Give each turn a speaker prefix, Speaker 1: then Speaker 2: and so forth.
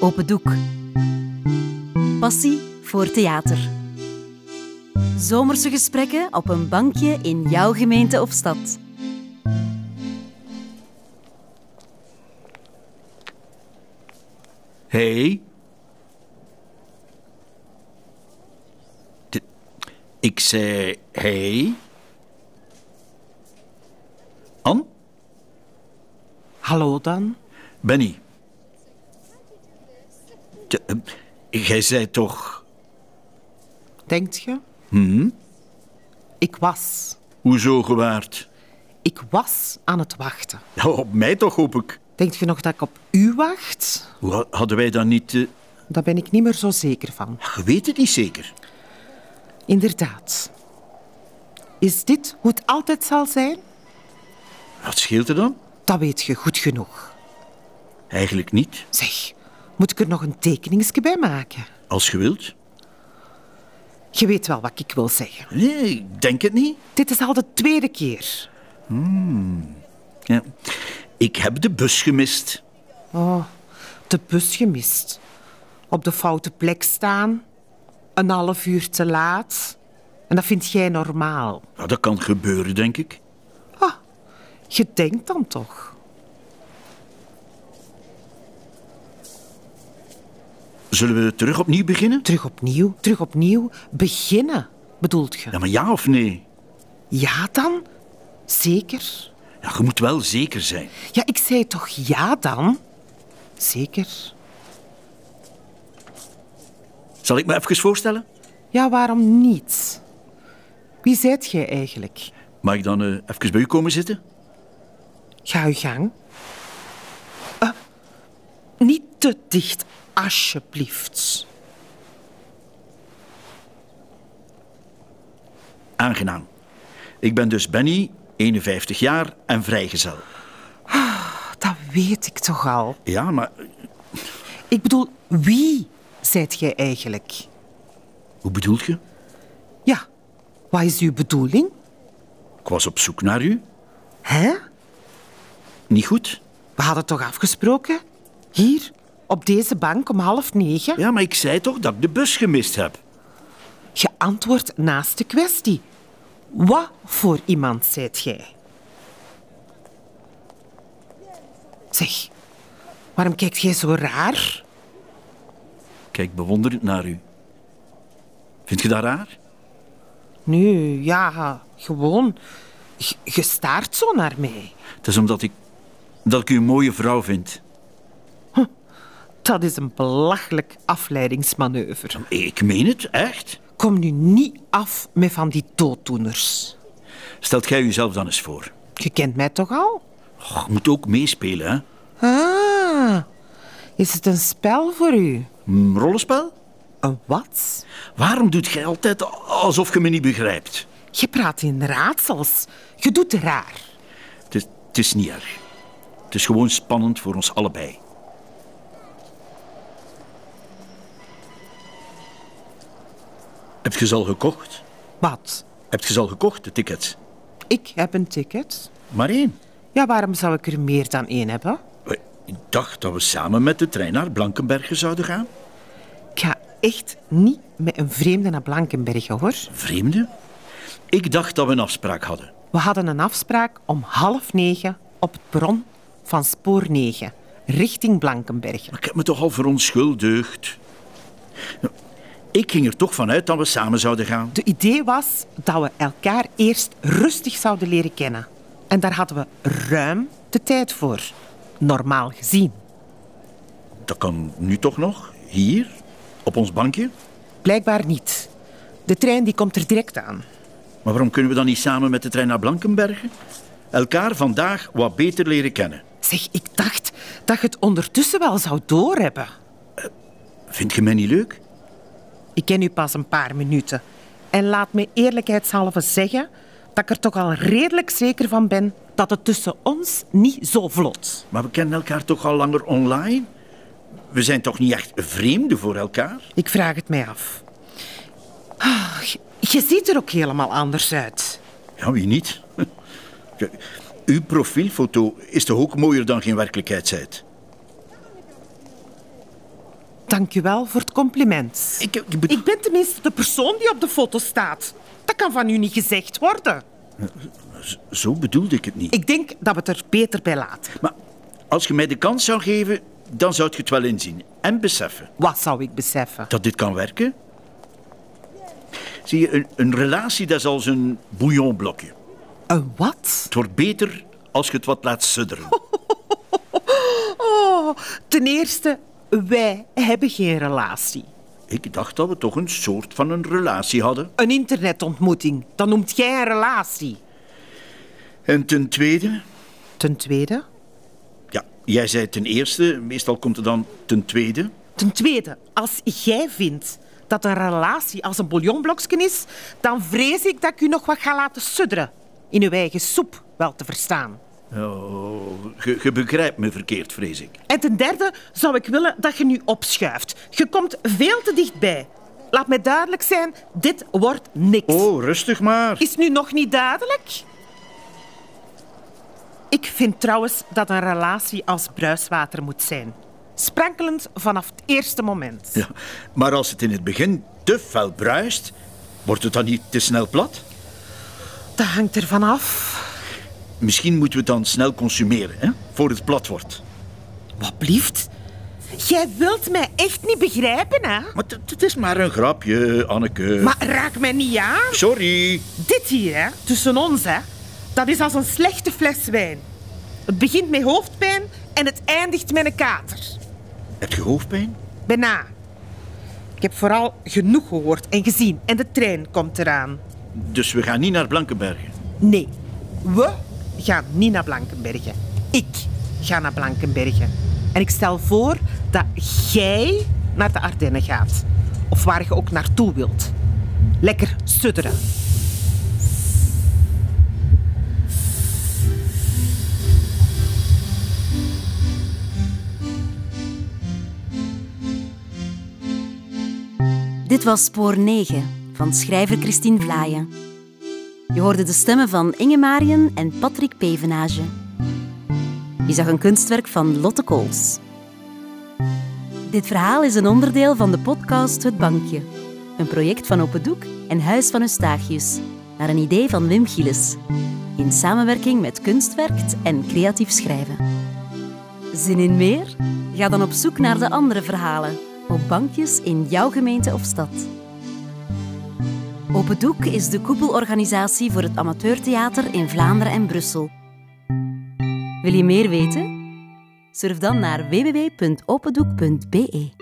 Speaker 1: Open Doek. Passie voor theater. Zomerse gesprekken op een bankje in jouw gemeente of stad.
Speaker 2: Hey. De- ik zei hey. An,
Speaker 3: Hallo dan.
Speaker 2: Benny. De- eh, Jij zei toch...
Speaker 3: Denkt je? Ik was.
Speaker 2: Hoezo gewaard?
Speaker 3: Ik was aan het wachten.
Speaker 2: Ja, Op mij toch, hoop ik.
Speaker 3: Denkt je nog dat ik op u wacht?
Speaker 2: Hoe ha- Hadden wij dan niet... eh,
Speaker 3: Daar ben ik niet meer zo zeker van.
Speaker 2: Je weet het niet zeker.
Speaker 3: Inderdaad. Is dit hoe het altijd zal zijn?
Speaker 2: Wat scheelt er dan?
Speaker 3: Dat weet je goed genoeg.
Speaker 2: Eigenlijk niet,
Speaker 3: Zeg, moet ik er nog een tekeningsje bij maken?
Speaker 2: als je wilt.
Speaker 3: Je weet wel wat ik wil zeggen.
Speaker 2: Nee, ik denk het niet.
Speaker 3: Dit is al de tweede keer.
Speaker 2: Ja. Ik heb de bus gemist.
Speaker 3: Oh, de bus gemist. Op de foute plek staan. Een half uur te laat. En dat vind jij normaal.
Speaker 2: Ja, dat kan gebeuren, denk ik.
Speaker 3: Ah, je denkt dan toch?
Speaker 2: Zullen we terug opnieuw beginnen?
Speaker 3: Terug opnieuw, terug opnieuw. Beginnen, bedoelt
Speaker 2: Ja,
Speaker 3: je?
Speaker 2: maar ja of nee?
Speaker 3: Ja dan? Zeker?
Speaker 2: Ja, je moet wel zeker zijn.
Speaker 3: Ja, ik zei toch ja dan? Zeker.
Speaker 2: Zal ik me even voorstellen?
Speaker 3: Ja, waarom niet? Wie zijt jij eigenlijk?
Speaker 2: Mag ik dan eh, even bij u komen zitten?
Speaker 3: Ga uw gang. Eh, niet te dicht, alsjeblieft.
Speaker 2: Aangenaam. Ik ben dus Benny, 51 jaar en vrijgezel.
Speaker 3: Oh, Dat weet ik toch al.
Speaker 2: Ja, maar eh,
Speaker 3: Ik bedoel, wie zijt jij eigenlijk?
Speaker 2: hoe bedoelt je?
Speaker 3: Ja, wat is uw bedoeling?
Speaker 2: Ik was op zoek naar u.
Speaker 3: Hè?
Speaker 2: Niet goed?
Speaker 3: We hadden toch afgesproken? Hier, op deze bank om half negen?
Speaker 2: Ja, maar ik zei toch dat ik de bus gemist heb?
Speaker 3: Je antwoordt naast de kwestie. Wat voor iemand zijt jij? Zeg, waarom kijkt jij zo raar?
Speaker 2: Kijk bewonderend naar u. Vind je dat raar?
Speaker 3: Nu, ja, gewoon. Je- Je staart zo naar mij.
Speaker 2: Het is omdat ik, dat ik u een mooie vrouw vind.
Speaker 3: Dat is een belachelijk afleidingsmanoeuvre.
Speaker 2: Ik meen het, echt.
Speaker 3: Kom nu niet af met van die dooddoeners.
Speaker 2: Stelt jij uzelf dan eens voor.
Speaker 3: Je kent mij toch al?
Speaker 2: Och, je moet ook meespelen, hè?
Speaker 3: Ah, is het een spel voor u?
Speaker 2: Een rollenspel?
Speaker 3: Een wat?
Speaker 2: Waarom doet jij altijd alsof je me niet begrijpt?
Speaker 3: Je praat in raadsels. Je doet raar.
Speaker 2: Het is, het is niet erg. Het is gewoon spannend voor ons allebei. Heb je ze al gekocht?
Speaker 3: Wat?
Speaker 2: Heb je ze al gekocht, de tickets?
Speaker 3: Ik heb een ticket.
Speaker 2: Maar één. Eh,
Speaker 3: Ja, waarom zou ik er meer dan één hebben?
Speaker 2: Ik dacht dat we samen met de trein naar Blankenbergen zouden gaan.
Speaker 3: Ik ga echt niet met een vreemde naar Blankenbergen, hoor.
Speaker 2: Vreemde? Ik dacht dat we een afspraak hadden.
Speaker 3: We hadden een afspraak om half negen op het bron van spoor 9, richting Blankenbergen.
Speaker 2: Maar ik heb me toch al verontschuldigd. Ik ging er toch vanuit dat we samen zouden gaan.
Speaker 3: De idee was dat we elkaar eerst rustig zouden leren kennen. En daar hadden we ruim de tijd voor, normaal gezien.
Speaker 2: Dat kan nu toch nog? Hier? Op ons bankje?
Speaker 3: Blijkbaar niet. De trein die komt er direct aan.
Speaker 2: Maar waarom kunnen we dan niet samen met de trein naar Blankenbergen? Elkaar vandaag wat beter leren kennen.
Speaker 3: Zeg, ik dacht dat je het ondertussen wel zou doorhebben.
Speaker 2: Vind je mij niet leuk?
Speaker 3: Ik ken u pas een paar minuten. En laat me eerlijkheidshalve zeggen dat ik er toch al redelijk zeker van ben dat het tussen ons niet zo vlot.
Speaker 2: Maar we kennen elkaar toch al langer online? We zijn toch niet echt vreemden voor elkaar?
Speaker 3: Ik vraag het mij af. Ah, je- je ziet er ook helemaal anders uit.
Speaker 2: Ja, wie niet? Uw profielfoto is toch ook mooier dan geen werkelijkheid zijt?
Speaker 3: Dank u wel voor het compliment.
Speaker 2: Ik- ik bedoel-
Speaker 3: ik ben tenminste de persoon die op de foto staat. Dat kan van u niet gezegd worden.
Speaker 2: Zo bedoelde ik het niet.
Speaker 3: Ik denk dat we het er beter bij laten.
Speaker 2: Maar als je mij de kans zou geven, dan zou je het wel inzien en beseffen
Speaker 3: Wat zou ik beseffen?
Speaker 2: dat dit kan werken. Zie je, een, een relatie dat is als een bouillonblokje.
Speaker 3: Een wat?
Speaker 2: Het wordt beter als je het wat laat sudderen.
Speaker 3: Oh, ten eerste, wij hebben geen relatie.
Speaker 2: Ik dacht dat we toch een soort van een relatie hadden.
Speaker 3: Een internetontmoeting, dat noemt jij een relatie.
Speaker 2: En ten tweede,
Speaker 3: Ten tweede?
Speaker 2: ja, jij zei ten eerste, meestal komt er dan ten tweede.
Speaker 3: Ten tweede, als jij vindt dat een relatie als een bouillonblokje is, dan vrees ik dat ik u nog wat ga laten sudderen. In uw eigen soep, wel te verstaan.
Speaker 2: Oh, je, je begrijpt me verkeerd, vrees ik.
Speaker 3: En ten derde zou ik willen dat je nu opschuift. Je komt veel te dichtbij. Laat mij duidelijk zijn, dit wordt niks.
Speaker 2: Oh, rustig maar.
Speaker 3: Is nu nog niet duidelijk? Ik vind trouwens dat een relatie als bruiswater moet zijn. Sprankelend vanaf het eerste moment.
Speaker 2: Ja, maar als het in het begin te fel bruist, wordt het dan niet te snel plat?
Speaker 3: Dat hangt ervan af.
Speaker 2: Misschien moeten we het dan snel consumeren, hè? Voor het plat wordt.
Speaker 3: Wat blieft? Jij wilt mij echt niet begrijpen, hè?
Speaker 2: Maar het- het is maar een grapje, Anneke.
Speaker 3: Maar raak mij niet aan.
Speaker 2: Sorry.
Speaker 3: Dit hier, hè, tussen ons, hè, dat is als een slechte fles wijn. Het begint met hoofdpijn en het eindigt met een kater.
Speaker 2: Heb je hoofdpijn?
Speaker 3: Bijna. Ik heb vooral genoeg gehoord en gezien en de trein komt eraan.
Speaker 2: Dus we gaan niet naar Blankenbergen.
Speaker 3: Nee, we gaan niet naar Blankenbergen. Ik ga naar Blankenbergen. En ik stel voor dat jij naar de Ardennen gaat. Of waar je ook naartoe wilt. Lekker sudderen.
Speaker 1: Dit was Spoor 9 van schrijver Christine Vlaaien. Je hoorde de stemmen van Inge Mariën en Patrick Pevenage. Je zag een kunstwerk van Lotte Kools. Dit verhaal is een onderdeel van de podcast Het Bankje. Een project van Open Doek en Huis van Eustachius. Naar een idee van Wim Gilles. In samenwerking met Kunstwerkt en Creatief Schrijven. Zin in meer? Ga dan op zoek naar de andere verhalen op bankjes in jouw gemeente of stad. Open Doek is de koepelorganisatie voor het amateurtheater in Vlaanderen en Brussel. Wil je meer weten? Surf dan naar www.opendoek.be.